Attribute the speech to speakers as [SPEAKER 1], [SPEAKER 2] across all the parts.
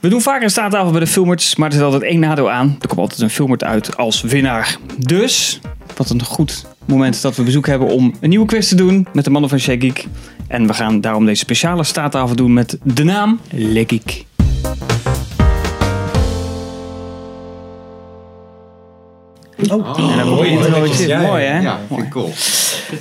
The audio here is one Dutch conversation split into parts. [SPEAKER 1] We doen vaak een staattafel bij de filmerts, maar er zit altijd één nadeel aan. Er komt altijd een filmert uit als winnaar. Dus, wat een goed moment dat we bezoek hebben om een nieuwe quiz te doen met de mannen van Shake Geek. En we gaan daarom deze speciale staattafel doen met de naam Le Geek.
[SPEAKER 2] Oh,
[SPEAKER 1] dan hoor je het wel weer zitten.
[SPEAKER 2] Ja, ja,
[SPEAKER 1] Mooi, hè?
[SPEAKER 2] Ja, vind ik cool.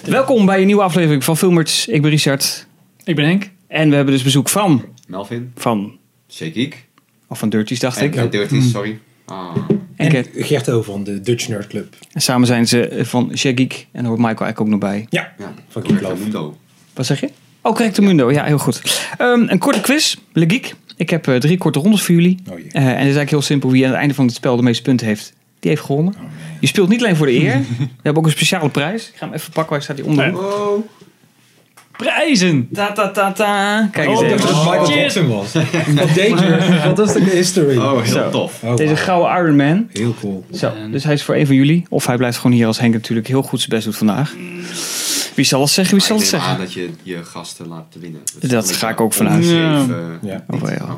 [SPEAKER 1] Welkom bij een nieuwe aflevering van Filmerts. Ik ben Richard.
[SPEAKER 3] Ik ben Henk.
[SPEAKER 1] En we hebben dus bezoek van,
[SPEAKER 2] Melvin,
[SPEAKER 1] van,
[SPEAKER 2] Shakeek.
[SPEAKER 1] of van Dirties dacht ik.
[SPEAKER 2] En en
[SPEAKER 4] Mm.
[SPEAKER 2] Dirty, sorry. Ah.
[SPEAKER 1] En Cat.
[SPEAKER 4] En Gert Over van de Dutch Nerd Club.
[SPEAKER 1] En samen zijn ze van Shake Geek. En daar hoort Michael eigenlijk ook nog bij.
[SPEAKER 4] Ja,
[SPEAKER 2] Ja,
[SPEAKER 4] van
[SPEAKER 2] Dirk
[SPEAKER 4] Geek Love.
[SPEAKER 2] Mundo.
[SPEAKER 1] Wat zeg je? Oh, correcto mundo. Ja, heel goed. Ehm, een korte quiz. Le Geek. Ik heb eh, drie korte rondes voor jullie.
[SPEAKER 4] Oh jee.
[SPEAKER 1] Eh, en het is eigenlijk heel simpel. Wie aan het einde van het spel de meeste punten heeft, die heeft gewonnen.
[SPEAKER 4] Oh,
[SPEAKER 1] Je speelt niet alleen voor de eer. We hebben ook een speciale prijs. Ik ga hem even pakken. Waar staat die onder?
[SPEAKER 2] Wow.
[SPEAKER 1] Prijzen! Ta ta ta ta. Kijk eens
[SPEAKER 4] Oh, ik
[SPEAKER 1] even.
[SPEAKER 4] dacht dat het Michael
[SPEAKER 3] Cheers.
[SPEAKER 4] Jackson was. Wat danger. Wat is de history? Oh,
[SPEAKER 2] Oh, heel
[SPEAKER 1] Zo.
[SPEAKER 2] tof.
[SPEAKER 4] wow.
[SPEAKER 1] Deze gouden Iron Man.
[SPEAKER 4] Heel cool.
[SPEAKER 1] Zo, dus hij is voor één van jullie. Of hij blijft gewoon hier als Henk natuurlijk heel goed zijn best doet vandaag. Wie zal het zeggen? Wie zal
[SPEAKER 2] Maar
[SPEAKER 1] het
[SPEAKER 2] ik neem
[SPEAKER 1] zeggen?
[SPEAKER 2] aan dat je je gasten laat winnen.
[SPEAKER 1] Dat ga ik ook vanuit.
[SPEAKER 2] Ja.
[SPEAKER 4] Ja.
[SPEAKER 1] Oh, ja. Ja,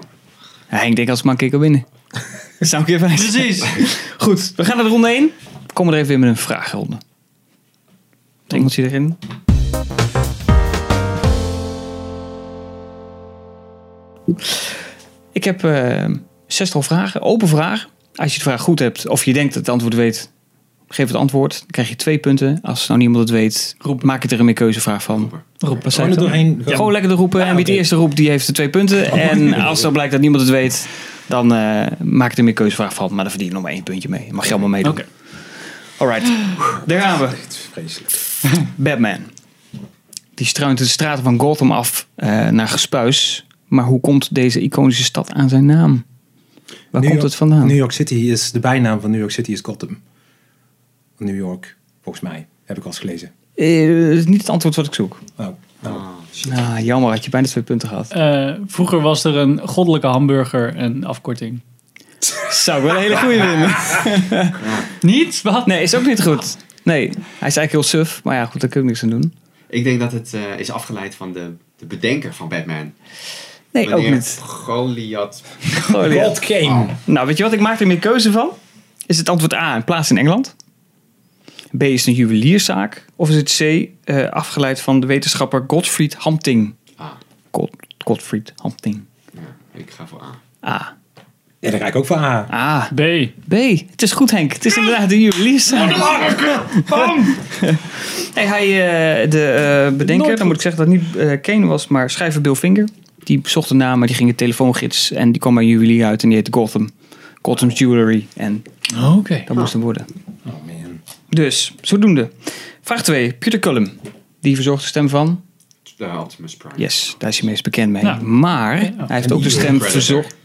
[SPEAKER 1] Henk denkt als man kan winnen. Zou ik even
[SPEAKER 3] Precies.
[SPEAKER 1] Goed, we gaan naar de ronde 1. We komen er even in met een vraagronde. Heeft Iemand zit erin. Ik heb eh zestal vragen, open vragen. Als je de vraag goed hebt of je denkt dat het antwoord weet, geef het antwoord. Dan krijg je twee punten. Als nou niemand het weet, maak je er een meer keuzevraag van.
[SPEAKER 3] Rob,
[SPEAKER 1] Wat zei
[SPEAKER 4] Gewoon
[SPEAKER 1] ik
[SPEAKER 4] er
[SPEAKER 1] dan?
[SPEAKER 4] doorheen.
[SPEAKER 1] Ja, gewoon lekker te roepen.
[SPEAKER 4] Ja,
[SPEAKER 1] en wie het
[SPEAKER 4] oké.
[SPEAKER 1] eerste roept, die heeft de twee punten. en als dan blijkt dat niemand het weet, dan eh, maak ik er meer keuzevraag van. Maar dan verdien je nog maar één puntje mee. Mag je allemaal meedoen.
[SPEAKER 3] Oké.
[SPEAKER 1] Alright, daar gaan we.
[SPEAKER 4] Het is Vreselijk.
[SPEAKER 1] Batman. Die struint de straten van Gotham af eh, naar gespuis. Maar hoe komt deze iconische stad aan zijn naam? Waar
[SPEAKER 4] New
[SPEAKER 1] komt
[SPEAKER 4] York-
[SPEAKER 1] het vandaan?
[SPEAKER 4] New York City is, de bijnaam van New York City is Gotham. New York, volgens mij. Heb ik al eens gelezen.
[SPEAKER 1] Eh, dat is niet het antwoord wat ik zoek.
[SPEAKER 4] Oh, nou.
[SPEAKER 1] Ah, jammer, had je bijna twee punten gehad.
[SPEAKER 3] Eh, vroeger was er een goddelijke hamburger, een afkorting.
[SPEAKER 1] Zou ik wel een hele goede vinden.
[SPEAKER 3] Niet? Wat?
[SPEAKER 1] Nee, is ook niet goed. Nee, hij is eigenlijk heel suf. Maar ja, goed, daar kun je niks aan doen.
[SPEAKER 2] Ik denk dat het eh, is afgeleid van de, de bedenker van Batman.
[SPEAKER 1] Nee, ook
[SPEAKER 2] Meneer
[SPEAKER 1] niet.
[SPEAKER 2] Goliath.
[SPEAKER 1] Goliath.
[SPEAKER 4] Game.
[SPEAKER 1] Nou, weet je wat? Ik maak er meer keuze van. Is het antwoord A, een plaats in Engeland? B, is het een juwelierszaak? Of is het C, eh, afgeleid van de wetenschapper Gottfried Hampting?
[SPEAKER 2] Ah,
[SPEAKER 1] God, Gottfried Hampting.
[SPEAKER 2] ja, ik ga voor A.
[SPEAKER 1] A.
[SPEAKER 4] Ja, daar ga ik ook voor A.
[SPEAKER 1] A.
[SPEAKER 3] B.
[SPEAKER 1] B. Het is goed, Henk. Het is inderdaad de juwelierszaak. Nee, hij, eh, de eh, bedenker,
[SPEAKER 3] Nooit
[SPEAKER 1] dan moet ik zeggen dat het niet eh, Kane was, maar schrijver Bill Finger. Die zocht een naam, maar die ging een telefoongids. En die kwam bij een juwelier uit en die heette Gotham. Gotham Jewelry. En
[SPEAKER 3] Oké.
[SPEAKER 1] dat moest hem worden.
[SPEAKER 4] Oh man.
[SPEAKER 1] Dus, zodoende. Vraag 2. Peter Cullum. Die verzorgt de stem van...
[SPEAKER 2] Eh, Optimus Prime.
[SPEAKER 1] Yes, daar is hij meest bekend mee.
[SPEAKER 3] Nou.
[SPEAKER 1] Maar
[SPEAKER 3] oh.
[SPEAKER 1] hij heeft ook de
[SPEAKER 4] Predator.
[SPEAKER 1] stem
[SPEAKER 2] Predator.
[SPEAKER 1] verzorgd...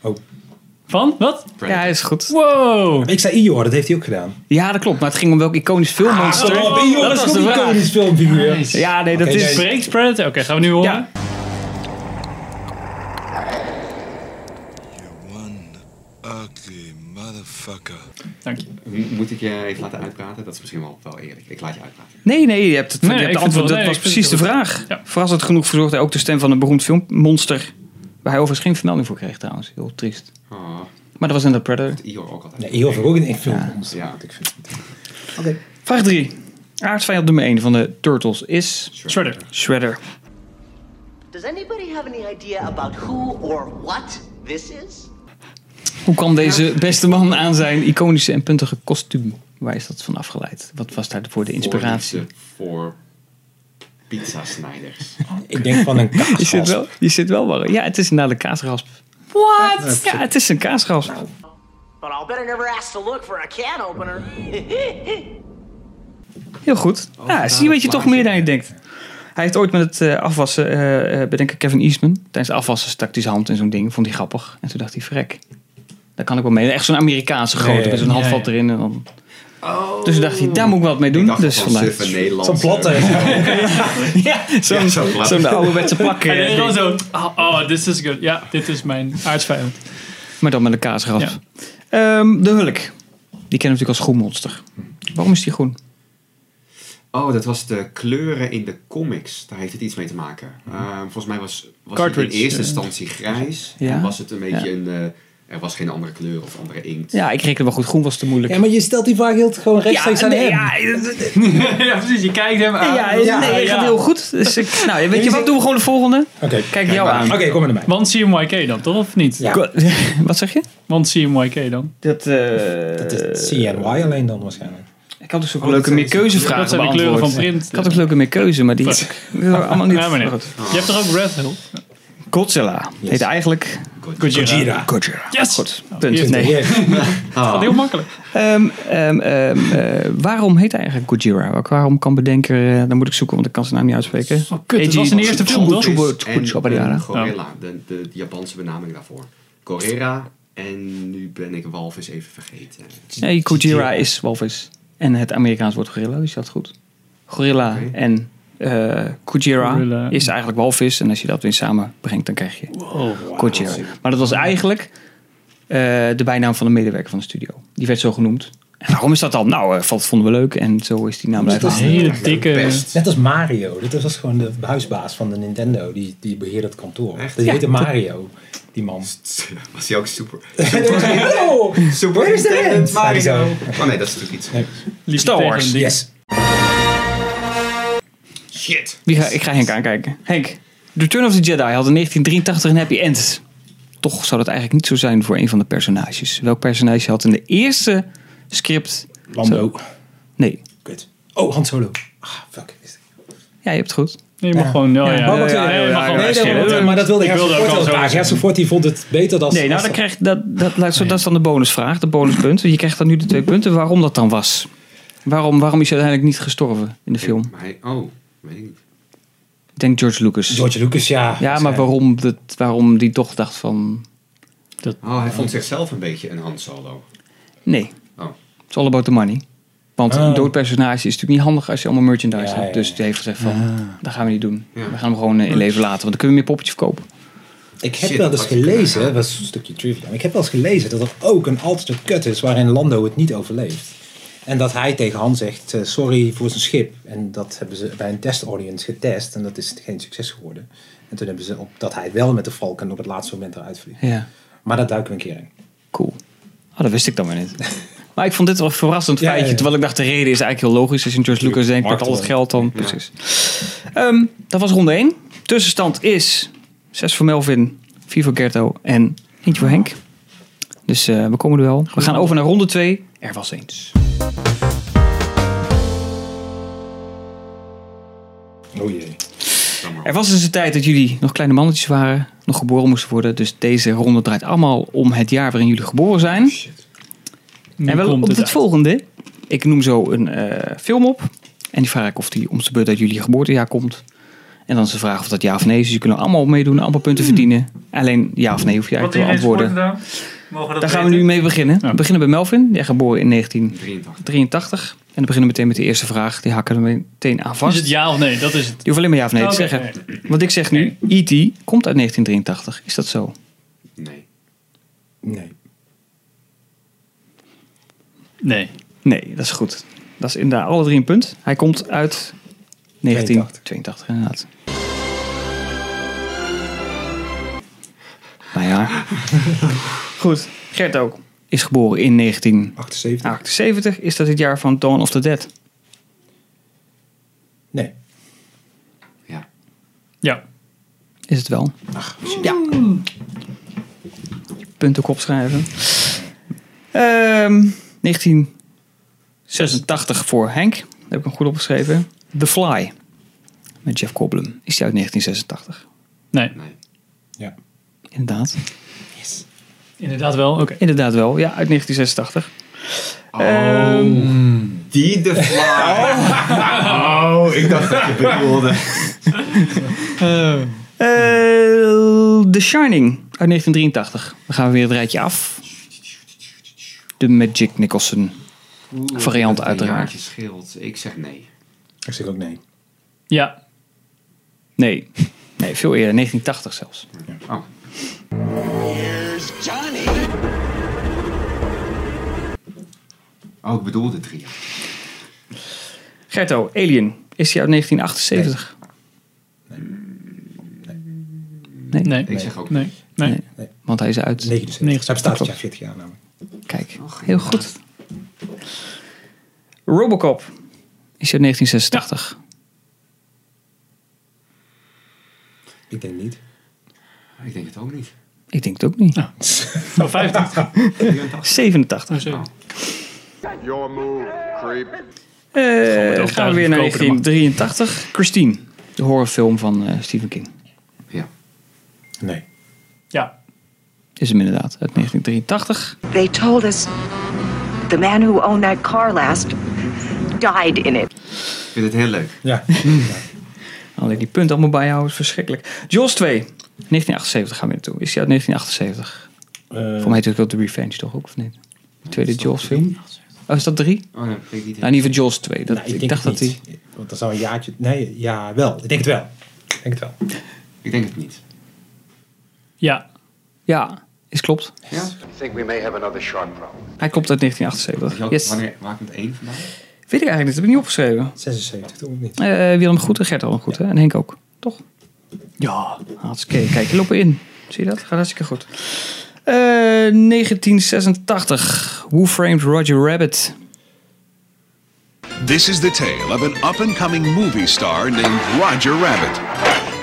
[SPEAKER 3] Van? Wat?
[SPEAKER 1] Ja,
[SPEAKER 2] Predator.
[SPEAKER 1] hij is goed.
[SPEAKER 3] Wow.
[SPEAKER 4] Ik zei Ior, dat heeft hij ook gedaan.
[SPEAKER 1] Ja, dat klopt. Maar het ging om welk iconisch filmmonster.
[SPEAKER 3] oh,
[SPEAKER 4] Ior,
[SPEAKER 1] dat was
[SPEAKER 4] ook
[SPEAKER 1] de
[SPEAKER 4] een
[SPEAKER 1] vraag.
[SPEAKER 4] iconisch filmfiguur.
[SPEAKER 1] Ja, nee, dat
[SPEAKER 4] Ah, Oké,
[SPEAKER 1] is...
[SPEAKER 4] nee.
[SPEAKER 3] Breaks Predator. Oké, gaan we nu horen?
[SPEAKER 1] Ja.
[SPEAKER 5] You're one ugly motherfucker.
[SPEAKER 3] Dank je.
[SPEAKER 2] M- Moet ik je even laten uitpraten? Dat is misschien wel, wel eerlijk. Ik laat je uitpraten.
[SPEAKER 1] Nee, nee, je hebt het,
[SPEAKER 3] Nee,
[SPEAKER 1] je hebt
[SPEAKER 3] ik
[SPEAKER 1] het
[SPEAKER 3] vind
[SPEAKER 1] antwoord. dat
[SPEAKER 3] het wel- nee,
[SPEAKER 1] was
[SPEAKER 3] ik vind
[SPEAKER 1] precies de
[SPEAKER 3] het heel
[SPEAKER 1] vraag.
[SPEAKER 3] goed. Ja.
[SPEAKER 1] Verrassend genoeg verzorgde hij ook de stem van een beroemd filmmonster. Waar hij overigens geen vermelding voor kreeg trouwens. Heel triest.
[SPEAKER 2] Oh,
[SPEAKER 1] Maar dat was inderdaad Predator.
[SPEAKER 2] Ior ook altijd.
[SPEAKER 4] Nee, Ior vind ik ook een echt film.
[SPEAKER 2] Ja.
[SPEAKER 4] Ik vind het
[SPEAKER 1] Vraag 3. Aardvijand nummer 1 van de Turtles is...
[SPEAKER 3] Shredder.
[SPEAKER 1] Shredder.
[SPEAKER 6] Does anybody have any idea about who or what this is?
[SPEAKER 1] Hoe kwam deze beste man aan zijn iconische en puntige kostuum? Waar is dat van afgeleid? Wat was daarvoor de inspiratie?
[SPEAKER 2] Voor, voor pizzasnijders.
[SPEAKER 4] Ik denk van een kaas.
[SPEAKER 1] Je zit wel, je zit wel warm. Ja, het is inderdaad een kaasrasp. What? Ja, het is een kaasrasp.
[SPEAKER 6] But I'll bet I never asked to look for a can opener.
[SPEAKER 1] Heel goed. Ja, zie je weet je toch meer dan je denkt. Hij heeft ooit met het eh, afwassen, eh eh, bedenk ik Kevin Eastman. Tijdens het afwassen stak hij zijn hand in zo'n ding. Vond hij grappig. En toen dacht hij, verrek. Daar kan ik wel mee. Echt zo'n Amerikaanse grote.
[SPEAKER 4] ja,
[SPEAKER 1] met zo'n
[SPEAKER 3] ja,
[SPEAKER 1] handvat
[SPEAKER 3] ja.
[SPEAKER 1] erin. En dan... Dus toen dacht hij, daar moet ik wat mee
[SPEAKER 2] Ik
[SPEAKER 1] doen.
[SPEAKER 2] dacht
[SPEAKER 1] Dus
[SPEAKER 2] van
[SPEAKER 1] vandaar.
[SPEAKER 2] suffe eh. Nederlandse.
[SPEAKER 4] Zo'n platte.
[SPEAKER 1] Ja, zo'n
[SPEAKER 2] Ja, zo'n
[SPEAKER 1] zo'n
[SPEAKER 2] plat.
[SPEAKER 1] ouderwetse plakken.
[SPEAKER 3] En dan zo. Oh, oh, this is good. Ja, dit is mijn aardsvijand.
[SPEAKER 1] Maar dan met een kaasgraf. Ehm, de Hulk. Die kennen we natuurlijk als groen monster. Waarom is die groen?
[SPEAKER 2] Oh, dat was de kleuren in de comics. Daar heeft het iets mee te maken. Ehm, volgens mij was, was het in
[SPEAKER 3] Cartridge,
[SPEAKER 2] eerste
[SPEAKER 3] eh.
[SPEAKER 2] instantie grijs.
[SPEAKER 1] Ja.
[SPEAKER 2] En was het een beetje
[SPEAKER 1] Ja.
[SPEAKER 2] een, eh, Er was geen andere kleur of andere inkt.
[SPEAKER 1] Ja, ik reken wel goed. Groen was te moeilijk.
[SPEAKER 4] Ja, maar je stelt die vraag heel gewoon rechtstreeks aan
[SPEAKER 1] nee,
[SPEAKER 4] hem.
[SPEAKER 1] ja,
[SPEAKER 3] ja, precies. Je kijkt hem aan.
[SPEAKER 1] ja,
[SPEAKER 4] Ja,
[SPEAKER 1] nee, het gaat
[SPEAKER 3] ja.
[SPEAKER 1] heel goed. Dus ik, nou, weet je wat?
[SPEAKER 4] zegt-
[SPEAKER 1] Doen we gewoon de volgende.
[SPEAKER 4] Oké,
[SPEAKER 1] Kijk jou aan.
[SPEAKER 4] Oké, kom maar naar mij.
[SPEAKER 3] Want CMYK dan, toch? Of niet?
[SPEAKER 4] Ja.
[SPEAKER 1] Go- Wat zeg je?
[SPEAKER 3] Want CMYK dan.
[SPEAKER 1] Dat, eh,
[SPEAKER 4] Dat is CNY alleen dan waarschijnlijk.
[SPEAKER 1] Ik had dus ook leuke meer keuzevragen
[SPEAKER 3] Dat zijn de kleuren
[SPEAKER 1] beantwoord.
[SPEAKER 3] van print.
[SPEAKER 1] Ik had ook leuke meer keuze, maar die die waren allemaal niet.
[SPEAKER 3] Ja, maar nee. Je hebt er ook Red Hill.
[SPEAKER 1] Godzilla heet eigenlijk
[SPEAKER 3] Gojira.
[SPEAKER 1] Godzilla.
[SPEAKER 3] Yes!
[SPEAKER 1] Goed.
[SPEAKER 3] hier
[SPEAKER 1] Punt.
[SPEAKER 3] is
[SPEAKER 1] Nee.
[SPEAKER 4] Yes.
[SPEAKER 2] Ah,
[SPEAKER 3] Dat heel makkelijk.
[SPEAKER 1] Ehm, ehm, ehm, eh, waarom heet hij eigenlijk Gojira? Ook waarom kan bedenken? eh, dan moet ik zoeken, want ik kan zijn naam niet uitspreken.
[SPEAKER 3] Oh, kut, het was in de eerste film, toch?
[SPEAKER 1] Tsubo-
[SPEAKER 2] Is en,
[SPEAKER 1] Tsubo- Tsubo-
[SPEAKER 2] en Gorilla, de, de Japanse benaming daarvoor. Gorilla en nu ben ik walvis even vergeten.
[SPEAKER 1] Nee, Gojira is walvis. En het Amerikaans woord gorilla, dus dat goed. Gorilla
[SPEAKER 2] Oké.
[SPEAKER 1] en eh Gojira
[SPEAKER 3] Gorilla.
[SPEAKER 1] is eigenlijk walvis. En als je dat weer samenbrengt, dan krijg je Gojira. Maar dat was eigenlijk eh, de bijnaam van de medewerker van de studio. Die werd zo genoemd. En waarom is dat dan? Nou, eh, dat vonden we leuk. En zo is die naam blijven
[SPEAKER 4] dat
[SPEAKER 1] hangen.
[SPEAKER 4] is-
[SPEAKER 3] Hele dikke...
[SPEAKER 2] Best.
[SPEAKER 4] Net als Mario. Dit was gewoon de huisbaas van de Nintendo. Die, die beheerde het kantoor.
[SPEAKER 2] Echt?
[SPEAKER 4] Die
[SPEAKER 2] Ja.
[SPEAKER 4] heette Mario. Die man.
[SPEAKER 2] Was hij ook super?
[SPEAKER 4] Hallo!
[SPEAKER 2] Super
[SPEAKER 4] Where is the end?
[SPEAKER 2] Mario.
[SPEAKER 4] Mario.
[SPEAKER 2] Oh nee, dat is natuurlijk iets.
[SPEAKER 3] liep
[SPEAKER 1] Star
[SPEAKER 3] tegen
[SPEAKER 1] Wars,
[SPEAKER 3] een ding.
[SPEAKER 4] Yes.
[SPEAKER 2] Shit.
[SPEAKER 1] Wie ga, ik ga Henk aankijken. Henk, Return of the Jedi had in 1983 een happy end. Toch zou dat eigenlijk niet zo zijn voor een van de personages. Welk personage had in de eerste script...
[SPEAKER 4] Lando.
[SPEAKER 1] Nee.
[SPEAKER 4] Kut. Oh, Han Solo. Ah, fuck.
[SPEAKER 1] Ja, je hebt het goed.
[SPEAKER 3] Nee, je mag gewoon... Ja, ja.
[SPEAKER 4] Oh, wacht
[SPEAKER 1] ja,
[SPEAKER 4] even.
[SPEAKER 1] ja, ja,
[SPEAKER 3] Nee, je mag gewoon
[SPEAKER 1] ja,
[SPEAKER 4] Nee, dat-
[SPEAKER 1] schelen.
[SPEAKER 4] dat- maar dat wilde
[SPEAKER 3] Ik
[SPEAKER 4] Herfst
[SPEAKER 3] wilde ook
[SPEAKER 4] Ford
[SPEAKER 3] al
[SPEAKER 4] wel
[SPEAKER 3] zo
[SPEAKER 4] vragen.
[SPEAKER 3] zeggen.
[SPEAKER 4] Herfst Ford, die vond het beter dan...
[SPEAKER 1] Nee, nou, dan krijg, dat, dat, dat, dat is dan de bonusvraag, de bonuspunt. Je krijgt dan nu de twee punten waarom dat dan was. Waarom, waarom is hij uiteindelijk niet gestorven in de film?
[SPEAKER 2] Maar hij, oh, weet ik niet.
[SPEAKER 1] Ik denk George Lucas.
[SPEAKER 4] George Lucas, ja.
[SPEAKER 1] Ja, maar waarom, dat, waarom die toch dacht van...
[SPEAKER 2] Oh, hij vond zichzelf een beetje een Han Solo.
[SPEAKER 1] Nee,
[SPEAKER 2] Oh.
[SPEAKER 1] it's all about the money. Want een
[SPEAKER 4] Oh.
[SPEAKER 1] dood personage is natuurlijk niet handig als je allemaal merchandise
[SPEAKER 4] Ja,
[SPEAKER 1] hebt.
[SPEAKER 4] ja,
[SPEAKER 1] Dus
[SPEAKER 4] ja.
[SPEAKER 1] die heeft gezegd van, dat gaan we niet doen.
[SPEAKER 2] Ja.
[SPEAKER 1] We gaan hem gewoon eh, in leven laten, want dan kunnen we meer poppetjes verkopen.
[SPEAKER 4] Ik heb
[SPEAKER 2] Shit,
[SPEAKER 4] wel eens
[SPEAKER 2] had je kunnen
[SPEAKER 4] gelezen,
[SPEAKER 2] gaan.
[SPEAKER 4] dat was een stukje trivia, maar ik heb wel eens gelezen dat er ook een alternate cut is waarin Lando het niet overleeft. En dat hij tegen Han zegt, eh, sorry voor zijn schip. En dat hebben ze bij een testaudience getest en dat is geen succes geworden. En toen hebben ze op dat hij wel met de Falcon op het laatste moment eruit vliegt.
[SPEAKER 1] Ja,
[SPEAKER 4] Maar dat duiken we een keer in.
[SPEAKER 1] cool. Ah, dat wist ik dan weer niet. maar ik vond dit wel een verrassend
[SPEAKER 4] Ja, ja,
[SPEAKER 1] feitje.
[SPEAKER 4] ja.
[SPEAKER 1] Terwijl ik dacht, de reden is eigenlijk heel logisch. Als je een George Lucas denkt, pakt al het geld dan. Precies. Ehm, dat was ronde 1. Tussenstand is 6 voor Melvin, 4 voor Gerto en eentje voor Henk. Dus eh, we komen er wel. We gaan over naar ronde 2. Er was eens.
[SPEAKER 4] Oh jee.
[SPEAKER 1] Er was dus een tijd dat jullie nog kleine mannetjes waren, nog geboren moesten worden. Dus deze ronde draait allemaal om het jaar waarin jullie geboren zijn.
[SPEAKER 3] Nu
[SPEAKER 1] en wel
[SPEAKER 3] komt
[SPEAKER 1] op het,
[SPEAKER 3] uit.
[SPEAKER 1] volgende. Ik noem zo een eh, film op. En die vraag ik of die om de beurt uit jullie geboortejaar komt. En dan is de vraag of dat ja of nee is. Dus je kunt er allemaal op meedoen, allemaal punten
[SPEAKER 3] Hmm.
[SPEAKER 1] verdienen. Alleen ja of nee hoef je
[SPEAKER 7] Wat iedereen
[SPEAKER 1] eigenlijk te antwoorden.
[SPEAKER 7] sporten daar? Mogen we dat
[SPEAKER 1] Daar gaan we nu
[SPEAKER 7] weten?
[SPEAKER 1] mee beginnen.
[SPEAKER 3] Ja.
[SPEAKER 1] We beginnen bij Melvin. Jij geboren in
[SPEAKER 2] 83.
[SPEAKER 1] 1983. En dan beginnen we meteen met de eerste vraag. Die hakken we meteen aan
[SPEAKER 3] Is
[SPEAKER 1] vast.
[SPEAKER 3] het ja of nee? Dat is het.
[SPEAKER 1] Je hoeft alleen maar ja of nee
[SPEAKER 3] Oké,
[SPEAKER 1] te zeggen. Wat ik zeg nu, E.T. komt uit 1983. Is dat zo?
[SPEAKER 2] Nee.
[SPEAKER 4] Nee.
[SPEAKER 3] Nee.
[SPEAKER 1] Nee, dat is goed. Dat is inderdaad alle drie een punt. Hij komt uit 1982, inderdaad. Nou ja. goed. Gert ook. Is geboren in
[SPEAKER 4] 78?
[SPEAKER 1] 1978. Is dat het jaar van Dawn of the Dead?
[SPEAKER 4] Nee.
[SPEAKER 2] Ja.
[SPEAKER 3] Ja.
[SPEAKER 1] Is het wel. ja. Punt ook opschrijven. Ehm, 1986 voor Henk. Daar heb ik hem goed opgeschreven. The Fly. Met Jeff Goldblum. Is die uit 1986?
[SPEAKER 3] Nee.
[SPEAKER 2] Nee.
[SPEAKER 4] Ja.
[SPEAKER 1] Inderdaad.
[SPEAKER 3] Inderdaad wel. Oké.
[SPEAKER 1] Inderdaad wel. Ja, uit 1986.
[SPEAKER 2] Oh. Die de fly. Oh, ik dacht dat je bedoelde.
[SPEAKER 1] Eh, The Shining. Uit 1983. Dan gaan we weer het rijtje af. De Magic Nicholson. Variant uiteraard.
[SPEAKER 2] Jaartje scheelt. Ik zeg nee.
[SPEAKER 4] Ik zeg ook nee.
[SPEAKER 3] Ja.
[SPEAKER 1] Nee. Nee, veel eerder. 1980 zelfs.
[SPEAKER 2] Oh.
[SPEAKER 6] Here's Johnny.
[SPEAKER 2] Oh, ik bedoelde drie jaar.
[SPEAKER 1] Gerto, Alien. Is die uit 1978?
[SPEAKER 3] Nee.
[SPEAKER 2] Ik zeg ook
[SPEAKER 3] Nee. Nee.
[SPEAKER 1] Nee. Want hij is uit.
[SPEAKER 4] 79. Hij bestaat dit
[SPEAKER 1] Klopt.
[SPEAKER 4] jaar 40 jaar namelijk.
[SPEAKER 1] Kijk, heel goed. Robocop is uit 1986.
[SPEAKER 4] Ik denk niet.
[SPEAKER 2] Ik denk het ook niet.
[SPEAKER 1] Ik denk het ook niet.
[SPEAKER 3] Oh, 50.
[SPEAKER 1] 87.
[SPEAKER 3] Oh, sorry.
[SPEAKER 7] Your move, creep.
[SPEAKER 1] Eh
[SPEAKER 3] overtuiging
[SPEAKER 1] gaan we weer naar
[SPEAKER 3] verkopen, de man.
[SPEAKER 1] 1983. Christine. De horrorfilm van eh, Stephen King.
[SPEAKER 2] Ja.
[SPEAKER 4] Nee.
[SPEAKER 3] Ja.
[SPEAKER 1] Is hem inderdaad. Uit 1983.
[SPEAKER 8] They told us the man who owned that car last died in it.
[SPEAKER 2] Ik vind het heel leuk.
[SPEAKER 4] Ja.
[SPEAKER 1] Alleen die punten allemaal bijhouden is verschrikkelijk. Jaws 2. 1978 gaan we naartoe. Is die uit 1978? Voor mij is het ook wel The Revenge toch ook? Of niet? De tweede Jaws film. Oh, is dat drie?
[SPEAKER 2] Oh, nee, ik niet.
[SPEAKER 1] Nou, in ieder geval Jaws 2. Dat,
[SPEAKER 4] Nou,
[SPEAKER 1] ik,
[SPEAKER 4] ik denk
[SPEAKER 1] dacht dat
[SPEAKER 4] het
[SPEAKER 1] die...
[SPEAKER 4] niet. Want dat zou een jaartje... Nee, ja, wel. Ik denk het wel. Ik denk het wel.
[SPEAKER 2] Ik denk het niet.
[SPEAKER 3] Ja.
[SPEAKER 1] Ja, is klopt.
[SPEAKER 2] Ja?
[SPEAKER 7] Think we may have another shark problem.
[SPEAKER 1] Hij klopt uit
[SPEAKER 2] Weet je ook
[SPEAKER 1] 1978. Yes.
[SPEAKER 2] Wanneer maak ik het één vandaag?
[SPEAKER 1] Weet ik eigenlijk niet. Dat heb ik niet opgeschreven.
[SPEAKER 4] 76, toen niet.
[SPEAKER 1] Eh Willem goed en Gert al goed. Hè? En Henk ook. Toch? Ja. Hartstikke. Kijk, je loopt erin. Zie je dat? Gaat hartstikke goed. Eh, 1986. Who Framed Roger Rabbit?
[SPEAKER 9] This is the tale of an up and coming movie star named Roger Rabbit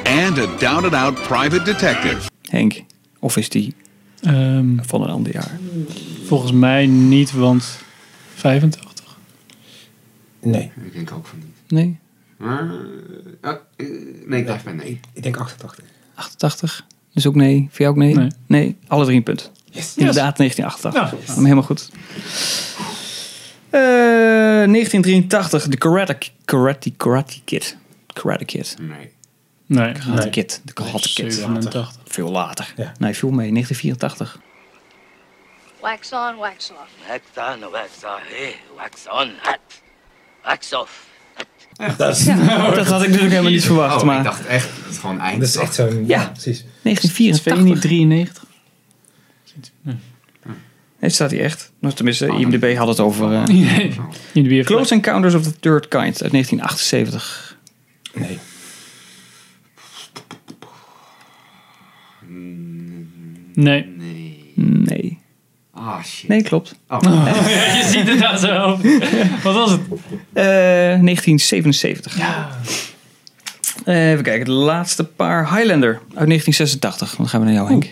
[SPEAKER 9] and a down and out private detective.
[SPEAKER 1] Henk. Of is die
[SPEAKER 3] Ehm,
[SPEAKER 1] van een ander jaar?
[SPEAKER 3] volgens mij niet, want 85.
[SPEAKER 4] Nee.
[SPEAKER 2] Ik denk ook van niet.
[SPEAKER 1] Nee?
[SPEAKER 2] Maar, eh, oh, eh, nee, ik blijf bij nee.
[SPEAKER 4] Ik denk 88.
[SPEAKER 1] 88. Dus ook nee. Voor jou ook nee?
[SPEAKER 3] Nee.
[SPEAKER 1] Alle drie een punt. Inderdaad, 1988.
[SPEAKER 3] Ja.
[SPEAKER 1] Ja. Helemaal goed. Eh, 1983. De Karate, karate, karate Kid. Karate Kid.
[SPEAKER 2] Nee.
[SPEAKER 3] Nee.
[SPEAKER 1] Karate Kid. De Karate Kid.
[SPEAKER 3] 87.
[SPEAKER 1] Veel later.
[SPEAKER 4] Ja.
[SPEAKER 1] Nee, veel mee. 1984.
[SPEAKER 10] Wax on, wax off.
[SPEAKER 6] Wax on, wax off. Hey, eh, wax on, hot. Wax off.
[SPEAKER 4] Dat is,
[SPEAKER 1] Dat had ik natuurlijk helemaal niet verwacht.
[SPEAKER 2] Oh,
[SPEAKER 1] maar
[SPEAKER 2] ik dacht echt, dat het gewoon eind.
[SPEAKER 4] dat is echt zo'n...
[SPEAKER 1] Ja.
[SPEAKER 4] precies.
[SPEAKER 1] 1984.
[SPEAKER 3] 93.
[SPEAKER 1] Nee, staat hij echt. Nou, tenminste,
[SPEAKER 3] Ah.
[SPEAKER 1] IMDB had het over... eh,
[SPEAKER 3] Nee. In de bier.
[SPEAKER 1] Close Encounters of the Third Kind uit 1978.
[SPEAKER 4] Nee.
[SPEAKER 3] Nee.
[SPEAKER 2] Nee.
[SPEAKER 1] Nee.
[SPEAKER 2] Ah, shit.
[SPEAKER 1] Nee, klopt.
[SPEAKER 2] Oh,
[SPEAKER 3] Je ziet het aan zijn hoofd. Wat was het?
[SPEAKER 1] Eh, 1977. Eh, even kijken, de laatste paar. Highlander uit 1986. Want Dan gaan we naar jou, Henk.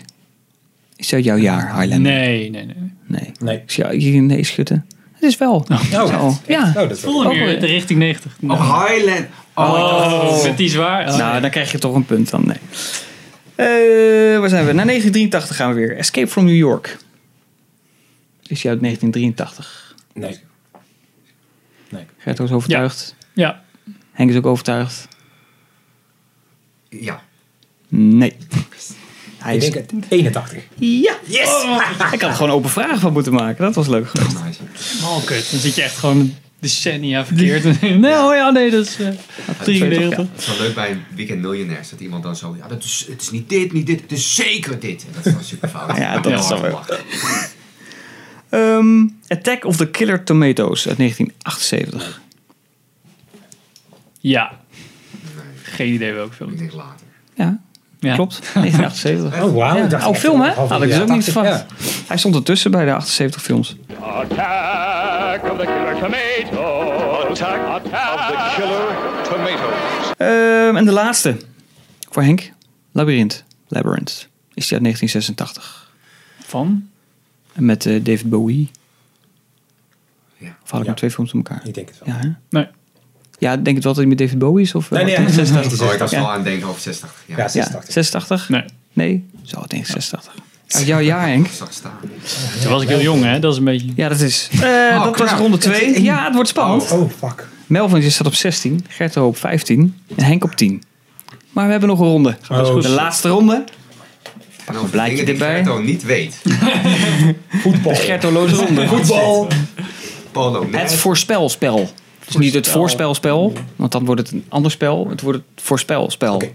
[SPEAKER 1] Is dat jouw jaar, Highlander?
[SPEAKER 3] Nee, nee, nee.
[SPEAKER 1] Nee.
[SPEAKER 4] Nee.
[SPEAKER 1] Ik zie jou hier nee schudden. Het is wel.
[SPEAKER 4] Oh,
[SPEAKER 1] Zo.
[SPEAKER 4] echt?
[SPEAKER 1] Ja.
[SPEAKER 4] Oh, dat
[SPEAKER 3] Voelde
[SPEAKER 1] Oh,
[SPEAKER 3] meer
[SPEAKER 1] ja.
[SPEAKER 3] de richting 90. Nou.
[SPEAKER 2] oh Highland. Oh, ik dacht-
[SPEAKER 3] Oh, zit die zwaar? Oh.
[SPEAKER 1] Nou, dan krijg je toch een punt dan. Nee. Eh, waar zijn we? Naar 1983 gaan we weer. Escape from New York. Is jou uit 1983.
[SPEAKER 4] Nee. Nee.
[SPEAKER 1] Gert is overtuigd.
[SPEAKER 3] Ja.
[SPEAKER 1] Henk is ook overtuigd.
[SPEAKER 2] Ja.
[SPEAKER 1] Nee. Hij
[SPEAKER 4] Ik
[SPEAKER 1] is...
[SPEAKER 4] denk het 81.
[SPEAKER 1] Ja! Yes! Ah. Ik had er gewoon open vragen van moeten maken. Dat was leuk.
[SPEAKER 2] Nice.
[SPEAKER 3] Oh, kut. Dan zit je echt gewoon decennia verkeerd. Nee, oh ja, nee, dat is eh, 93.
[SPEAKER 2] Het is wel leuk bij een Weekend Miljonairs dat iemand dan zo... Ja, dat is, het is niet dit, niet dit. Het is zeker dit. En dat is wel super fout.
[SPEAKER 1] Ja, dat
[SPEAKER 2] Heel
[SPEAKER 1] is
[SPEAKER 2] hard
[SPEAKER 1] wel
[SPEAKER 2] gelachen.
[SPEAKER 1] Ehm, Attack of the Killer Tomatoes uit 1978.
[SPEAKER 3] Ja.
[SPEAKER 2] Nee,
[SPEAKER 3] Geen idee welke film.
[SPEAKER 2] ik
[SPEAKER 3] het is.
[SPEAKER 2] denk later.
[SPEAKER 1] Ja,
[SPEAKER 3] Ja.
[SPEAKER 1] klopt. 1978.
[SPEAKER 4] Oh, wauw.
[SPEAKER 1] Ja,
[SPEAKER 4] Ik dacht
[SPEAKER 1] oude
[SPEAKER 4] echt
[SPEAKER 1] film, hè?
[SPEAKER 4] half-
[SPEAKER 1] Had ik
[SPEAKER 4] ja,
[SPEAKER 1] dus ook niet
[SPEAKER 4] 80,
[SPEAKER 1] verwacht.
[SPEAKER 4] ja.
[SPEAKER 1] Hij stond ertussen bij de 78 films.
[SPEAKER 7] Attack of the killer tomato. Attack, attack of the killer tomato.
[SPEAKER 1] Ehm, en de laatste. Voor Henk. Labyrinth. Labyrinth. Is die uit 1986.
[SPEAKER 3] Van?
[SPEAKER 1] En met eh, David Bowie.
[SPEAKER 2] Ja.
[SPEAKER 1] Of had ik
[SPEAKER 4] Ja.
[SPEAKER 1] nog twee films door elkaar?
[SPEAKER 4] Ik denk het wel.
[SPEAKER 1] Ja, hè?
[SPEAKER 3] Nee.
[SPEAKER 1] ja, denk het wel dat hij met David Bowie is? Of, eh,
[SPEAKER 4] Nee, nee,
[SPEAKER 1] ja.
[SPEAKER 4] ja.
[SPEAKER 2] Oh, ik was wel
[SPEAKER 1] Ja.
[SPEAKER 2] aan het denken over 60. Ja,
[SPEAKER 4] Ja,
[SPEAKER 2] dat
[SPEAKER 4] 86.
[SPEAKER 1] 86?
[SPEAKER 3] Nee.
[SPEAKER 1] Nee? Zo, het 1986. Uit jouw jaar, Henk.
[SPEAKER 2] zag staan.
[SPEAKER 3] Toen was ik heel jong, hè? Dat is een beetje...
[SPEAKER 1] Ja, dat is. Eh, dat was
[SPEAKER 2] knap.
[SPEAKER 1] ronde 2. Ja, het wordt spannend.
[SPEAKER 4] Oh, fuck.
[SPEAKER 1] Melvin die staat op 16, Gert de Hoop 15 en Henk op 10. Maar we hebben nog een ronde.
[SPEAKER 4] best Oh, goed.
[SPEAKER 1] de laatste ronde.
[SPEAKER 2] En over
[SPEAKER 1] blaadje
[SPEAKER 2] dingen die
[SPEAKER 1] erbij.
[SPEAKER 2] Gerto niet weet.
[SPEAKER 4] Voetbal.
[SPEAKER 1] Gertoloze ronde.
[SPEAKER 4] Oh. Voetbal.
[SPEAKER 2] Polo, net.
[SPEAKER 1] Het voorspelspel. Dus niet het voorspelspel, want dan wordt het een ander spel. Het wordt het voorspelspel.
[SPEAKER 4] Oké.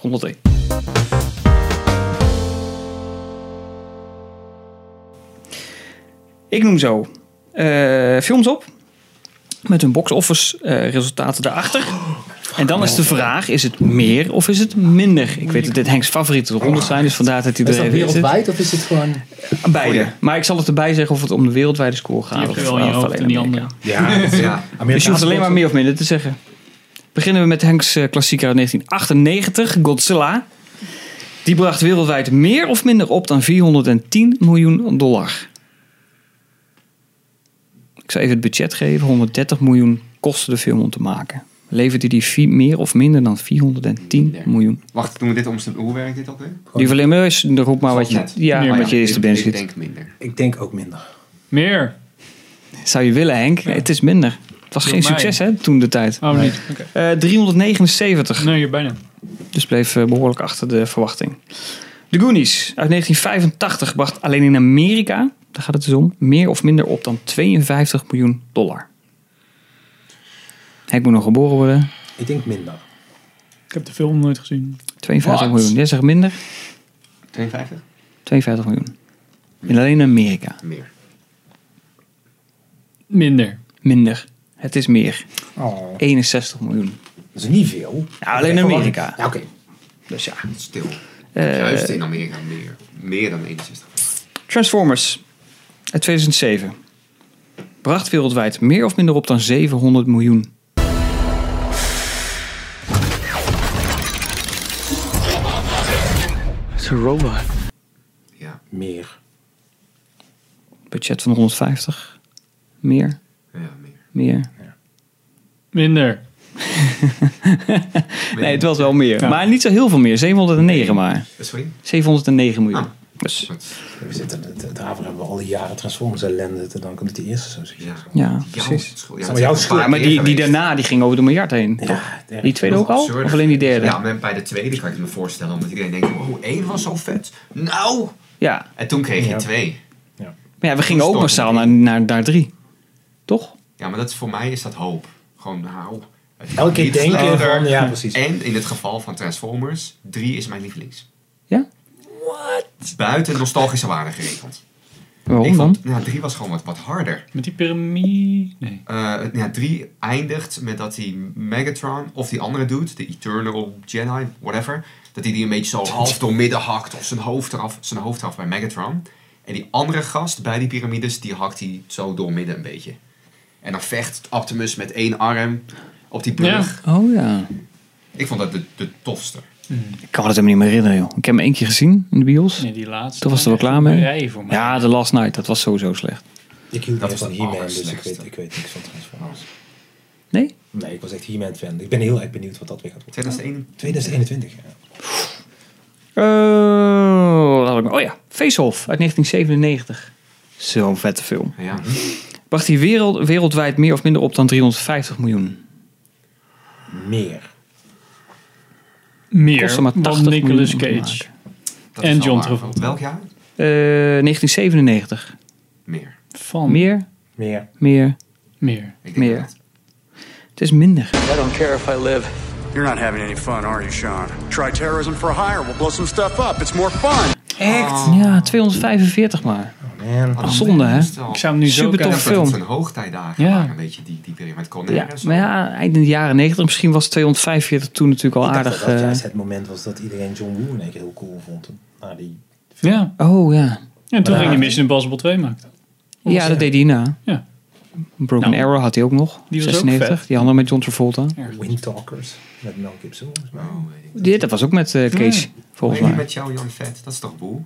[SPEAKER 1] Ronde 2. Ik noem zo eh, films op. Met hun box-office eh, resultaten daarachter. En dan is de vraag, is het meer of is het minder? Ik weet dat dit Henks favoriete rondes zijn, dus vandaar dat hij
[SPEAKER 4] Is
[SPEAKER 1] er
[SPEAKER 4] dat
[SPEAKER 1] even in zit.
[SPEAKER 4] wereldwijd of is het gewoon...
[SPEAKER 1] Beide. Maar ik zal het erbij zeggen of het om de wereldwijde score gaat.
[SPEAKER 3] Die heb
[SPEAKER 1] of
[SPEAKER 3] je wel in je
[SPEAKER 1] of
[SPEAKER 3] hoofd
[SPEAKER 1] alleen
[SPEAKER 3] en die
[SPEAKER 1] Amerika.
[SPEAKER 3] andere.
[SPEAKER 4] Ja,
[SPEAKER 2] Ja.
[SPEAKER 1] Dus je hoeft alleen maar meer of minder te zeggen. Beginnen we met Henks eh, klassieker uit 1998, Godzilla. Die bracht wereldwijd meer of minder op dan 410 miljoen dollar. Ik zou even het budget geven. 130 miljoen kostte de film om te maken. Leverde die vi- meer of minder dan 410
[SPEAKER 2] Minder.
[SPEAKER 1] miljoen?
[SPEAKER 2] Wacht, doen we dit om... Hoe werkt dit ook weer? Oh
[SPEAKER 1] Die verleer maar eens, roep maar wat je,
[SPEAKER 2] Net.
[SPEAKER 1] ja,
[SPEAKER 3] Meer,
[SPEAKER 1] wat je eerste binnen
[SPEAKER 2] Ik
[SPEAKER 1] schiet.
[SPEAKER 2] denk minder.
[SPEAKER 4] Ik denk ook minder.
[SPEAKER 3] Meer.
[SPEAKER 1] Zou je willen, Henk? Nee, het is minder. Het was
[SPEAKER 3] Door
[SPEAKER 1] geen
[SPEAKER 3] mij.
[SPEAKER 1] succes, hè, toen de tijd.
[SPEAKER 3] Oh, niet. Oké.
[SPEAKER 1] Eh, 379.
[SPEAKER 3] Nee, je bijna.
[SPEAKER 1] Dus bleef eh, behoorlijk achter de verwachting. De Goonies uit 1985 bracht alleen in Amerika, daar gaat het dus om, meer of minder op dan 52 miljoen dollar. Hij moet nog geboren worden.
[SPEAKER 4] Ik denk minder.
[SPEAKER 3] Ik heb de film nooit gezien.
[SPEAKER 1] 52
[SPEAKER 3] Wat?
[SPEAKER 1] miljoen. Jij zegt minder.
[SPEAKER 2] 52?
[SPEAKER 1] 52 miljoen. In alleen Amerika.
[SPEAKER 2] Meer.
[SPEAKER 3] Minder.
[SPEAKER 1] Minder. Het is meer.
[SPEAKER 4] Oh.
[SPEAKER 1] 61 miljoen.
[SPEAKER 4] Dat is niet veel.
[SPEAKER 1] Ja, alleen in
[SPEAKER 4] Ik verwacht-
[SPEAKER 1] Amerika.
[SPEAKER 4] Ja, Oké.
[SPEAKER 1] Dus ja.
[SPEAKER 2] Stil. Juist in Amerika meer. Meer dan 61.
[SPEAKER 1] Transformers uit 2007 bracht wereldwijd meer of minder op dan 700 miljoen.
[SPEAKER 2] Ja.
[SPEAKER 4] Meer.
[SPEAKER 1] Budget van 150. Meer,
[SPEAKER 2] Ja, meer.
[SPEAKER 1] meer.
[SPEAKER 3] Minder.
[SPEAKER 1] Nee, het was wel meer. Maar niet zo heel veel meer. 709 maar.
[SPEAKER 2] Eh, Sorry?
[SPEAKER 1] 709 miljoen.
[SPEAKER 2] Ah.
[SPEAKER 1] Dus
[SPEAKER 4] We zitten, het- daarvoor hebben we al die jaren Transformers ellende te danken omdat die eerste zo ziek
[SPEAKER 2] Ja.
[SPEAKER 4] is.
[SPEAKER 1] ja,
[SPEAKER 2] Jouw
[SPEAKER 1] precies.
[SPEAKER 2] school.
[SPEAKER 4] maar jouw school.
[SPEAKER 1] Maar die, die daarna die ging over de miljard heen.
[SPEAKER 4] Ja,
[SPEAKER 1] toch? Die tweede ook al?
[SPEAKER 2] Absurd.
[SPEAKER 1] Of alleen die derde?
[SPEAKER 2] Ja,
[SPEAKER 1] Ja.
[SPEAKER 2] maar bij de tweede kan ik me voorstellen. Omdat iedereen denkt, wow, één was zo vet. Nou! En toen kreeg je
[SPEAKER 4] Ja.
[SPEAKER 2] twee.
[SPEAKER 1] Maar ja, we gingen ook massaal naar, naar, naar drie. Toch?
[SPEAKER 2] Ja, maar dat is, voor mij is dat hoop. Gewoon, nou... het kan
[SPEAKER 4] Elke keer
[SPEAKER 2] niet
[SPEAKER 4] denken
[SPEAKER 2] slechter.
[SPEAKER 4] van, ja precies.
[SPEAKER 2] En in het geval van Transformers, 3 is mijn lievelings.
[SPEAKER 1] Ja?
[SPEAKER 2] Buiten nostalgische waarde geregeld.
[SPEAKER 1] Waarom
[SPEAKER 2] Ik
[SPEAKER 1] dan?
[SPEAKER 2] vond, nou, 3 was gewoon wat, wat harder.
[SPEAKER 3] Met die piramide. Nee.
[SPEAKER 2] Eh ja, 3 eindigt met dat die Megatron of die andere dude, de Eternal Jedi, whatever, dat hij die een beetje zo half door midden hakt of zijn hoofd eraf, zijn hoofd eraf bij Megatron. En die andere gast bij die piramides, die hakt hij zo door midden een beetje. En dan vecht Optimus met één arm op die brug.
[SPEAKER 1] Oh ja.
[SPEAKER 2] Ik vond dat de, de tofste.
[SPEAKER 1] Ik kan me dat helemaal niet meer herinneren, joh. Ik heb hem één keer gezien in de bios.
[SPEAKER 3] Nee, die laatste.
[SPEAKER 1] Toen was het
[SPEAKER 3] het
[SPEAKER 1] er wel klaar mee.
[SPEAKER 3] voor mij.
[SPEAKER 1] Ja, The Last Night. Dat was sowieso slecht.
[SPEAKER 4] Ik hield
[SPEAKER 2] Dat
[SPEAKER 4] meer
[SPEAKER 2] was
[SPEAKER 4] van
[SPEAKER 2] de
[SPEAKER 4] He-Man, dus ik weet,
[SPEAKER 2] allerslechtste.
[SPEAKER 4] ik weet niks van Transformers.
[SPEAKER 1] Nee?
[SPEAKER 4] Nee, ik was echt He-Man fan. Ik ben heel erg benieuwd wat dat weer gaat worden.
[SPEAKER 2] 2001.
[SPEAKER 4] 2021, ja.
[SPEAKER 1] Eh, laat ik maar- oh ja, Face Off uit 1997. Zo'n vette film.
[SPEAKER 2] Ja.
[SPEAKER 1] Bracht hij wereld, wereldwijd meer of minder op dan 350 miljoen?
[SPEAKER 4] Meer.
[SPEAKER 3] Meer
[SPEAKER 1] Kostte maar 80
[SPEAKER 3] dan
[SPEAKER 1] miljoen
[SPEAKER 3] Nicolas
[SPEAKER 1] om te
[SPEAKER 3] Cage.
[SPEAKER 1] maken.
[SPEAKER 2] Dat is
[SPEAKER 3] En
[SPEAKER 2] wel
[SPEAKER 3] John
[SPEAKER 2] waar.
[SPEAKER 3] Travolta.
[SPEAKER 2] Welk jaar?
[SPEAKER 1] Eh, 1997.
[SPEAKER 2] Meer.
[SPEAKER 3] Van
[SPEAKER 1] Meer,
[SPEAKER 4] Meer.
[SPEAKER 1] meer.
[SPEAKER 3] Meer.
[SPEAKER 2] Ik denk
[SPEAKER 1] Meer.
[SPEAKER 2] dat.
[SPEAKER 1] Het is minder.
[SPEAKER 7] I don't care if I live.
[SPEAKER 11] You're not having any fun, are you, Sean? Try terrorism for hire. We'll blow some stuff up. It's more fun.
[SPEAKER 1] Ja, 245 maar.
[SPEAKER 4] Man.
[SPEAKER 2] Wat
[SPEAKER 1] Zonde, hè?
[SPEAKER 2] best wel-
[SPEAKER 3] Ah, Ik zou hem nu zo
[SPEAKER 1] Super
[SPEAKER 3] kijken.
[SPEAKER 1] tof.
[SPEAKER 2] Ja, dat
[SPEAKER 1] film.
[SPEAKER 2] het zijn hoogtijdagen
[SPEAKER 3] Ja.
[SPEAKER 2] waren, weet je, die, die periode met Conair
[SPEAKER 1] Ja,
[SPEAKER 2] en zo.
[SPEAKER 1] maar ja, eind in de jaren 90. Misschien was 245 toen natuurlijk al
[SPEAKER 4] Ik dacht
[SPEAKER 1] aardig.
[SPEAKER 4] dat dat
[SPEAKER 1] eh,
[SPEAKER 4] juist het moment was dat iedereen John Woo in één keer heel cool vond. Na die...
[SPEAKER 3] Ja.
[SPEAKER 1] oh ja.
[SPEAKER 3] En toen
[SPEAKER 4] Ja.
[SPEAKER 3] ging hij Mission Impossible 2 maken.
[SPEAKER 1] Ja, dat deed hij na.
[SPEAKER 3] Oh, Ja.
[SPEAKER 1] Broken
[SPEAKER 3] Nou.
[SPEAKER 1] Arrow had hij ook nog.
[SPEAKER 3] Die was ook
[SPEAKER 1] 96.
[SPEAKER 3] vet.
[SPEAKER 1] Die andere met John Travolta.
[SPEAKER 4] Wind Talkers met Mel Gibson. volgens mij.
[SPEAKER 2] Oh, weet ik.
[SPEAKER 1] Die, dat was ook met eh, Cage, volgens
[SPEAKER 2] Weet je,
[SPEAKER 1] mij.
[SPEAKER 2] met jou, Jan Vet, dat is toch boel?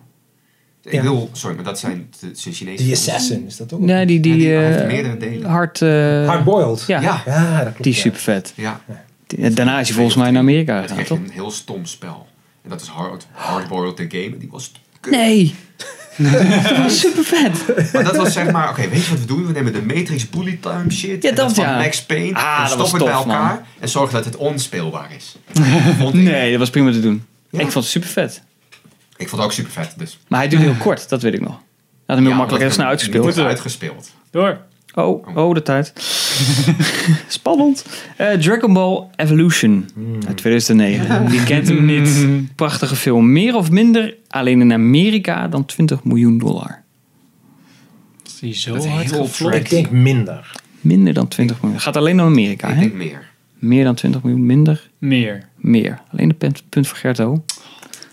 [SPEAKER 2] Ik
[SPEAKER 4] Ja.
[SPEAKER 2] wil, sorry, maar dat zijn, dat zijn Chinese
[SPEAKER 4] The
[SPEAKER 2] films.
[SPEAKER 4] Assassin, is dat ook?
[SPEAKER 1] Nee, die,
[SPEAKER 2] Ja,
[SPEAKER 1] die,
[SPEAKER 2] die- hij heeft
[SPEAKER 1] eh,
[SPEAKER 2] meerdere delen.
[SPEAKER 1] Hard, eh,
[SPEAKER 4] Hardboiled.
[SPEAKER 1] ja,
[SPEAKER 2] Ja.
[SPEAKER 4] ja, dat klopt.
[SPEAKER 1] die is
[SPEAKER 4] ja.
[SPEAKER 1] super vet.
[SPEAKER 2] Ja, het
[SPEAKER 1] Daarna is hij volgens mij naar Amerika
[SPEAKER 2] is
[SPEAKER 1] gegaan,
[SPEAKER 2] echt
[SPEAKER 1] toch?
[SPEAKER 2] een heel stom spel. En dat is hard, Hardboiled the Game, en die was...
[SPEAKER 1] Nee! dat was super vet.
[SPEAKER 2] Maar dat was zeg maar, oké, weet je wat we doen? We nemen de Matrix Bullet Time shit
[SPEAKER 1] Ja,
[SPEAKER 2] en
[SPEAKER 1] dat
[SPEAKER 2] van
[SPEAKER 1] ja.
[SPEAKER 2] Max Payne
[SPEAKER 1] Ah,
[SPEAKER 2] en
[SPEAKER 1] dat was
[SPEAKER 2] stoppen het bij
[SPEAKER 1] tof, man.
[SPEAKER 2] elkaar en zorgen dat het onspeelbaar is. Vond ik.
[SPEAKER 1] Nee, dat was prima te doen.
[SPEAKER 2] Ja.
[SPEAKER 1] Ik vond het super vet.
[SPEAKER 2] Ik vond het ook super vet, dus.
[SPEAKER 1] Maar hij duurde heel kort, dat weet ik nog. Hij had hem heel makkelijk en snel uitgespeeld.
[SPEAKER 2] Moeten uitgespeeld.
[SPEAKER 3] Door.
[SPEAKER 1] Oh, oh, de tijd. Spannend. Eh, Dragon Ball Evolution
[SPEAKER 2] Hmm.
[SPEAKER 1] uit 2009. Die kent hem niet. Prachtige film. Meer of minder, alleen in Amerika, dan 20 miljoen dollar.
[SPEAKER 3] Is die zo
[SPEAKER 2] Dat is
[SPEAKER 3] hard
[SPEAKER 2] heel
[SPEAKER 3] geflopt?
[SPEAKER 4] Ik denk minder.
[SPEAKER 1] Minder dan 20 miljoen. Gaat alleen naar Amerika,
[SPEAKER 2] Ik
[SPEAKER 1] hè?
[SPEAKER 2] denk meer.
[SPEAKER 1] Meer dan 20 miljoen, minder?
[SPEAKER 3] Meer.
[SPEAKER 1] Meer. Alleen de punt, punt voor Gerto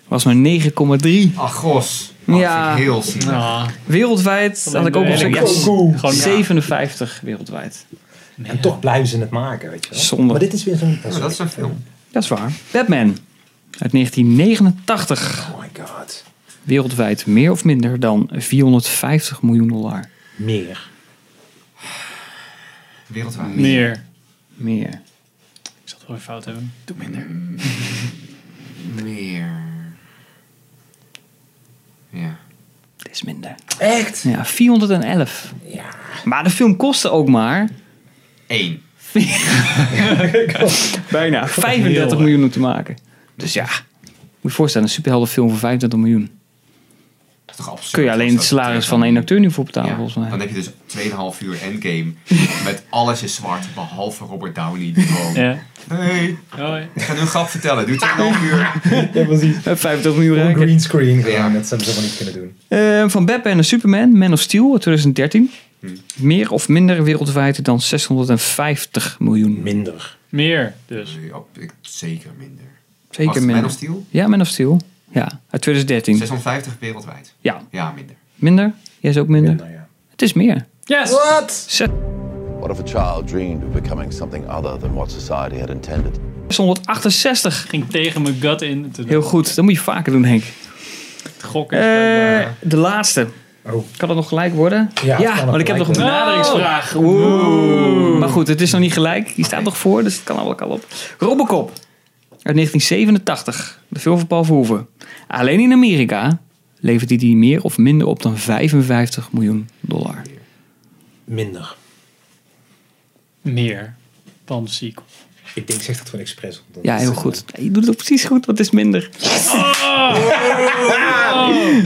[SPEAKER 1] was maar 9,3.
[SPEAKER 2] Ach, gos.
[SPEAKER 1] ja.
[SPEAKER 2] heel zielig.
[SPEAKER 1] Wereldwijd had ik ook
[SPEAKER 3] de
[SPEAKER 1] nog zo'n
[SPEAKER 3] elegance.
[SPEAKER 1] Gewoon 57 wereldwijd.
[SPEAKER 4] En toch blijven ze het maken, weet je wel.
[SPEAKER 1] Zonde.
[SPEAKER 4] Maar dit is weer zo'n...
[SPEAKER 2] Nou, dat is een film.
[SPEAKER 1] Dat is waar. Batman uit 1989.
[SPEAKER 4] Oh my god.
[SPEAKER 1] Wereldwijd meer of minder dan 450 miljoen dollar.
[SPEAKER 4] Meer.
[SPEAKER 2] Wereldwijd.
[SPEAKER 3] Meer.
[SPEAKER 1] Meer.
[SPEAKER 3] Ik zal het wel weer fout hebben. Doe minder.
[SPEAKER 2] Meer. Ja.
[SPEAKER 1] Het is minder.
[SPEAKER 4] Echt?
[SPEAKER 1] Ja, 411.
[SPEAKER 4] Ja.
[SPEAKER 1] Maar de film kostte ook maar
[SPEAKER 2] Eén.
[SPEAKER 1] bijna 35
[SPEAKER 3] heel
[SPEAKER 1] miljoen om te maken. Dus ja, moet je je voorstellen, een superheldenfilm voor 25 miljoen.
[SPEAKER 2] Dat is toch absurd.
[SPEAKER 1] Kun je alleen
[SPEAKER 2] Als
[SPEAKER 1] het
[SPEAKER 2] dat
[SPEAKER 1] salaris
[SPEAKER 2] betreft
[SPEAKER 1] van
[SPEAKER 2] dan-
[SPEAKER 1] één acteur nu voor betalen,
[SPEAKER 2] Ja,
[SPEAKER 1] volgens mij.
[SPEAKER 2] Dan heb je dus 2,5 uur endgame. met alles is zwart, behalve Robert Downey. Die gewoon,
[SPEAKER 3] Ja. Oh,
[SPEAKER 2] hey,
[SPEAKER 3] Hoi.
[SPEAKER 2] ik ga nu een grap vertellen. Doe 2,5 uur.
[SPEAKER 4] Ja, precies.
[SPEAKER 1] Eh, 85 miljoen
[SPEAKER 4] Een
[SPEAKER 1] rijk.
[SPEAKER 4] green screen
[SPEAKER 2] Ja.
[SPEAKER 4] gewoon. Dat zouden ze helemaal niet kunnen doen.
[SPEAKER 1] Eh, van Batman en Superman, Man of Steel uit 2013.
[SPEAKER 4] Hmm.
[SPEAKER 1] Meer of minder wereldwijd dan 650 miljoen.
[SPEAKER 4] Minder.
[SPEAKER 3] Meer dus.
[SPEAKER 2] Ja, Oh, ik- zeker minder. Was
[SPEAKER 1] Zeker
[SPEAKER 2] het Man of
[SPEAKER 1] minder.
[SPEAKER 2] Steel?
[SPEAKER 1] Ja, Man of Steel. Ja, uit 2013.
[SPEAKER 2] 650 wereldwijd.
[SPEAKER 1] Ja,
[SPEAKER 2] Ja, minder.
[SPEAKER 1] minder. Jij is ook minder.
[SPEAKER 4] Minder, ja.
[SPEAKER 1] Het is meer.
[SPEAKER 3] Yes!
[SPEAKER 1] Zes-
[SPEAKER 12] What if a child dreamed of becoming something other than what society had intended?
[SPEAKER 1] 668.
[SPEAKER 3] Ging tegen mijn gut in. Toen
[SPEAKER 1] Heel goed. Dat moet je vaker doen, Henk.
[SPEAKER 3] Het gokken.
[SPEAKER 1] Eh,
[SPEAKER 3] is blijkbaar-
[SPEAKER 1] de laatste.
[SPEAKER 4] Oh.
[SPEAKER 1] Kan het nog gelijk worden?
[SPEAKER 4] Ja, het kan nog
[SPEAKER 1] want ik heb nog
[SPEAKER 4] gelijk
[SPEAKER 1] een
[SPEAKER 4] worden.
[SPEAKER 1] benaderingsvraag. Oeh. Maar goed, het is nog niet gelijk. Die staat nog voor, dus het kan allemaal al op. Robocop. Uit 1987. De film van Paul Verhoeven. Alleen in Amerika levert die, die meer of minder op dan 55 miljoen dollar.
[SPEAKER 4] Minder.
[SPEAKER 3] Meer. Dan sequel.
[SPEAKER 4] Ik denk, zeg dat gewoon expres. omdat
[SPEAKER 1] Ja,
[SPEAKER 4] het
[SPEAKER 1] heel
[SPEAKER 4] is, eh,
[SPEAKER 1] goed. Je doet het ook precies goed, want het is minder.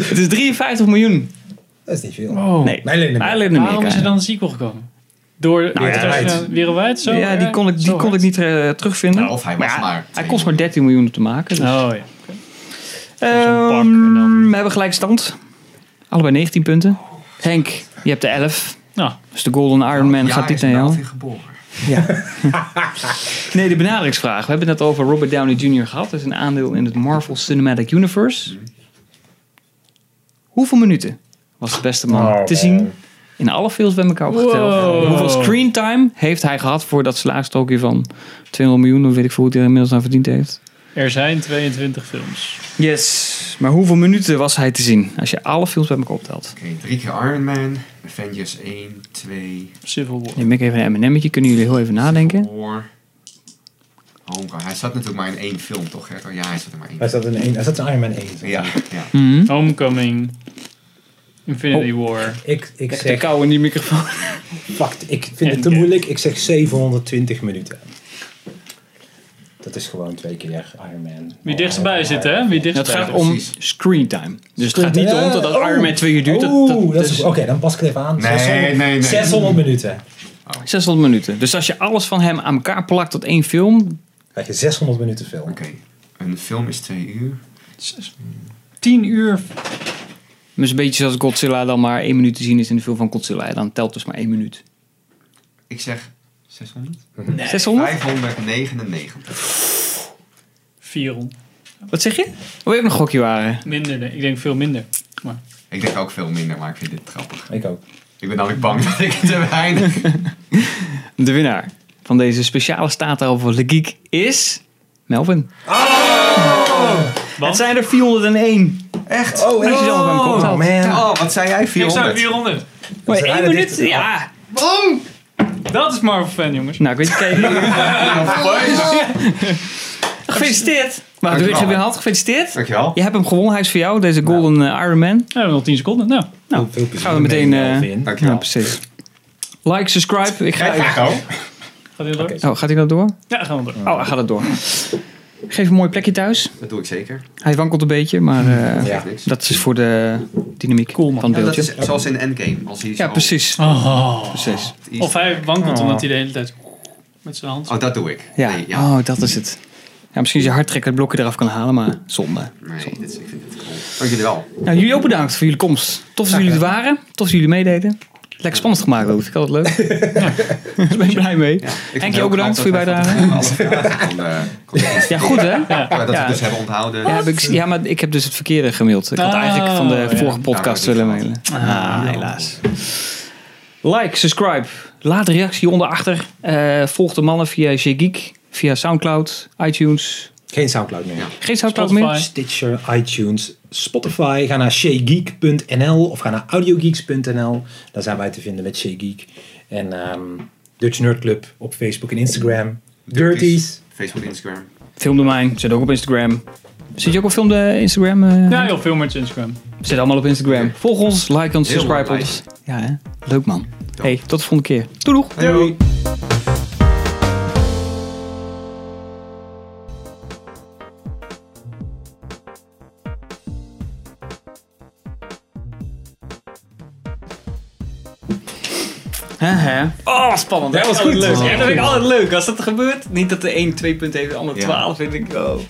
[SPEAKER 1] Het is 53 miljoen.
[SPEAKER 4] eh, Dat is niet veel.
[SPEAKER 3] Oh.
[SPEAKER 1] Nee,
[SPEAKER 4] Alleen in Amerika.
[SPEAKER 1] alleen in
[SPEAKER 3] Waarom
[SPEAKER 1] Amerika. Nou
[SPEAKER 3] is er dan een sequel gekomen? Door
[SPEAKER 4] wereldwijd.
[SPEAKER 3] eh, wereldwijd? Zo,
[SPEAKER 1] ja, die
[SPEAKER 3] eh,
[SPEAKER 1] kon ik, die
[SPEAKER 3] zo
[SPEAKER 1] kon ik
[SPEAKER 3] hard?
[SPEAKER 1] niet eh, terugvinden.
[SPEAKER 2] Nou, of hij was
[SPEAKER 1] ja,
[SPEAKER 2] maar
[SPEAKER 1] Hij
[SPEAKER 2] twee
[SPEAKER 1] kost maar
[SPEAKER 2] miljoen.
[SPEAKER 1] 13 miljoen om te maken. Dus.
[SPEAKER 3] Oh ja.
[SPEAKER 1] Ehm,
[SPEAKER 3] Dus pak en dan-
[SPEAKER 1] We hebben gelijk stand. Allebei 19 punten. Henk, je hebt de 11.
[SPEAKER 3] Nou,
[SPEAKER 1] Dus de Golden Iron Man
[SPEAKER 2] Ja,
[SPEAKER 1] gaat
[SPEAKER 2] hij
[SPEAKER 1] dit
[SPEAKER 2] is
[SPEAKER 1] naar jou.
[SPEAKER 2] Melvin geboren.
[SPEAKER 1] Nee, de benaderingsvraag. We hebben het net over Robert Downey Jr. gehad. Dat is een aandeel in het Marvel Cinematic Universe. Hoeveel minuten was de beste man
[SPEAKER 4] Oh,
[SPEAKER 1] te
[SPEAKER 4] man.
[SPEAKER 1] zien in alle films bij elkaar opgeteld?
[SPEAKER 3] Wow.
[SPEAKER 1] Hoeveel screentime heeft hij gehad voor dat salarisstokje van 200 miljoen? Of weet ik veel hoe hij er inmiddels aan verdiend heeft.
[SPEAKER 3] er zijn 22 films.
[SPEAKER 1] Yes, maar hoeveel minuten was hij te zien als je alle films bij elkaar optelt?
[SPEAKER 2] Oké, drie keer Iron Man. Avengers 1, 2,
[SPEAKER 3] Civil War.
[SPEAKER 1] Neem ik even een M&M'tje, kunnen jullie heel even nadenken?
[SPEAKER 2] War. Homecoming. Oh Hij zat natuurlijk maar in één film, toch? Gertjan? Ja, hij zat er maar in
[SPEAKER 4] Hij
[SPEAKER 2] één.
[SPEAKER 4] zat in één- hij zat in Iron Man 1.
[SPEAKER 2] Ja, ja.
[SPEAKER 1] Hm?
[SPEAKER 3] Homecoming. Infinity
[SPEAKER 1] Oh.
[SPEAKER 3] War.
[SPEAKER 4] Ik, ik
[SPEAKER 1] De
[SPEAKER 4] zeg,
[SPEAKER 1] kou in die microfoon.
[SPEAKER 4] fuck, ik vind het te
[SPEAKER 3] Endgame.
[SPEAKER 4] moeilijk. Ik zeg 720 minuten. Dat is gewoon twee keer Iron Man.
[SPEAKER 3] Wie dichtstbij zit, hè? Wie
[SPEAKER 1] Het
[SPEAKER 3] dichtstbij
[SPEAKER 1] gaat
[SPEAKER 3] zit.
[SPEAKER 1] om
[SPEAKER 2] precies.
[SPEAKER 1] screentime. Dus het gaat niet om dat dat
[SPEAKER 4] Oh.
[SPEAKER 1] Iron Man 2 uur duurt. Dat,
[SPEAKER 4] Oeh,
[SPEAKER 1] dat,
[SPEAKER 4] dat is- Oké, dan pas ik het even aan.
[SPEAKER 2] Nee,
[SPEAKER 4] 600,
[SPEAKER 2] nee, nee.
[SPEAKER 4] 600 minuten.
[SPEAKER 1] 600 minuten. Dus als je alles van hem aan elkaar plakt tot één film,
[SPEAKER 4] Krijg je 600 minuten film.
[SPEAKER 2] Oké,
[SPEAKER 1] Hm.
[SPEAKER 2] een film is twee uur.
[SPEAKER 3] 10 uur.
[SPEAKER 1] dus een beetje zoals Godzilla dan maar één minuut te zien is in de film van Godzilla. Dan telt dus maar één minuut.
[SPEAKER 2] Ik zeg 600?
[SPEAKER 1] 600?
[SPEAKER 2] 599.
[SPEAKER 3] 400.
[SPEAKER 1] Wat zeg je? Wil je ook nog een gokje waren?
[SPEAKER 3] Minder, nee. ik denk veel minder. Maar
[SPEAKER 2] Ik denk ook veel minder, maar ik vind dit grappig.
[SPEAKER 4] Ik ook.
[SPEAKER 2] Ik ben namelijk bang dat ik te weinig...
[SPEAKER 1] De winnaar van deze speciale staat over Le Geek is... Melvin. Het zijn er 401.
[SPEAKER 2] Echt?
[SPEAKER 4] Oh,
[SPEAKER 1] Als je zelf bij hem komt,
[SPEAKER 4] oh,
[SPEAKER 1] dan-
[SPEAKER 4] man.
[SPEAKER 2] Oh, wat zei jij?
[SPEAKER 3] ik zou
[SPEAKER 2] 400?
[SPEAKER 3] 400.
[SPEAKER 1] Maar
[SPEAKER 4] is
[SPEAKER 1] één
[SPEAKER 4] raar dat
[SPEAKER 1] minuut?
[SPEAKER 4] dit-
[SPEAKER 1] Ja.
[SPEAKER 3] Ah. Dat is Marvel fan, jongens.
[SPEAKER 1] Nou, ik weet niet. Gefeliciteerd. Maar doe ik ze weer hand. Gefeliciteerd.
[SPEAKER 2] Dankjewel.
[SPEAKER 1] Je hebt hem gewonnen. Hij is voor jou, deze Golden eh, Iron Man.
[SPEAKER 3] We hebben nog 10 seconden. Nou,
[SPEAKER 1] Nou,
[SPEAKER 4] Veel plezier
[SPEAKER 1] gaan we meteen...
[SPEAKER 4] ermee,
[SPEAKER 1] eh,
[SPEAKER 4] Melvin.
[SPEAKER 1] ja,
[SPEAKER 2] Dankjewel.
[SPEAKER 1] precies. Like, subscribe. Ik ga
[SPEAKER 2] Kijk,
[SPEAKER 1] even...
[SPEAKER 2] ik ook.
[SPEAKER 3] gaat dit door?
[SPEAKER 4] Oké.
[SPEAKER 1] Oh, gaat hij dat door?
[SPEAKER 3] Ja, gaan we door.
[SPEAKER 1] Oh, hij gaat het door. Geef een mooi plekje thuis.
[SPEAKER 2] Dat doe ik zeker.
[SPEAKER 1] Hij wankelt een beetje, maar eh,
[SPEAKER 4] Ja.
[SPEAKER 2] Niks.
[SPEAKER 1] dat is voor de dynamiek van
[SPEAKER 2] Ja,
[SPEAKER 1] het
[SPEAKER 2] dat
[SPEAKER 1] beeldje.
[SPEAKER 2] is zoals in Endgame. Als hij
[SPEAKER 1] Ja,
[SPEAKER 2] zo-
[SPEAKER 1] precies.
[SPEAKER 3] Oh.
[SPEAKER 1] precies.
[SPEAKER 2] iets-
[SPEAKER 3] Of hij wankelt omdat hij de hele tijd met zijn hand...
[SPEAKER 2] Oh, dat doe ik.
[SPEAKER 1] Ja.
[SPEAKER 2] Nee, ja.
[SPEAKER 1] Oh, dat is het. Ja, misschien als je hard trekt dat blokje eraf kan halen, maar zonde.
[SPEAKER 2] nee dit, is- ik vind dit cool. Dank jullie wel.
[SPEAKER 1] Nou, jullie ook bedankt voor jullie komst. Tof dat jullie er waren. Tof dat jullie meededen. Lekker spannend gemaakt ook. Vind ik altijd leuk. ja. Daar ben ik blij mee. Henk, je ook bedankt voor je bijdrage. Ja, goed hè?
[SPEAKER 2] Ja, eh, dat we het dus hebben onthouden.
[SPEAKER 1] Ja, heb ik, ja, maar ik heb dus het verkeerde gemaild. Ik had
[SPEAKER 2] Oh,
[SPEAKER 1] eigenlijk van de
[SPEAKER 2] ja.
[SPEAKER 1] vorige podcast willen mailen.
[SPEAKER 3] Ah,
[SPEAKER 1] Ah, helaas. Like, subscribe. Laat een reactie onderachter. Eh volg de mannen via Geek, via Soundcloud, iTunes.
[SPEAKER 4] Geen Soundcloud meer.
[SPEAKER 1] Geen Soundcloud meer.
[SPEAKER 4] Stitcher, iTunes, Spotify. Ga naar shaygeek.nl of ga naar audiogeeks.nl. Daar zijn wij te vinden met Shaygeek. En ehm, Dutch Nerd Club op Facebook en Instagram. Dirties.
[SPEAKER 2] Facebook, Instagram.
[SPEAKER 1] Filmdomein zit ook op Instagram. Zit je ook op film de Instagram? eh?
[SPEAKER 3] Ja, joh, veel met Instagram.
[SPEAKER 1] Zit allemaal op Instagram. Volg ons, like ons,
[SPEAKER 3] Heel
[SPEAKER 1] subscribe
[SPEAKER 3] belangrijk.
[SPEAKER 1] ons. Ja, hè? leuk man. Hey, tot de volgende keer. Doei doeg.
[SPEAKER 2] doei.
[SPEAKER 1] Oh, spannend.
[SPEAKER 3] Dat was goed.
[SPEAKER 1] Leuk.
[SPEAKER 3] Oh,
[SPEAKER 1] Ja, dat vind ik
[SPEAKER 3] goed.
[SPEAKER 1] altijd leuk als dat gebeurt. Niet dat de een twee punten heeft, de ander
[SPEAKER 3] Ja.
[SPEAKER 1] twaalf. Vind ik, oh.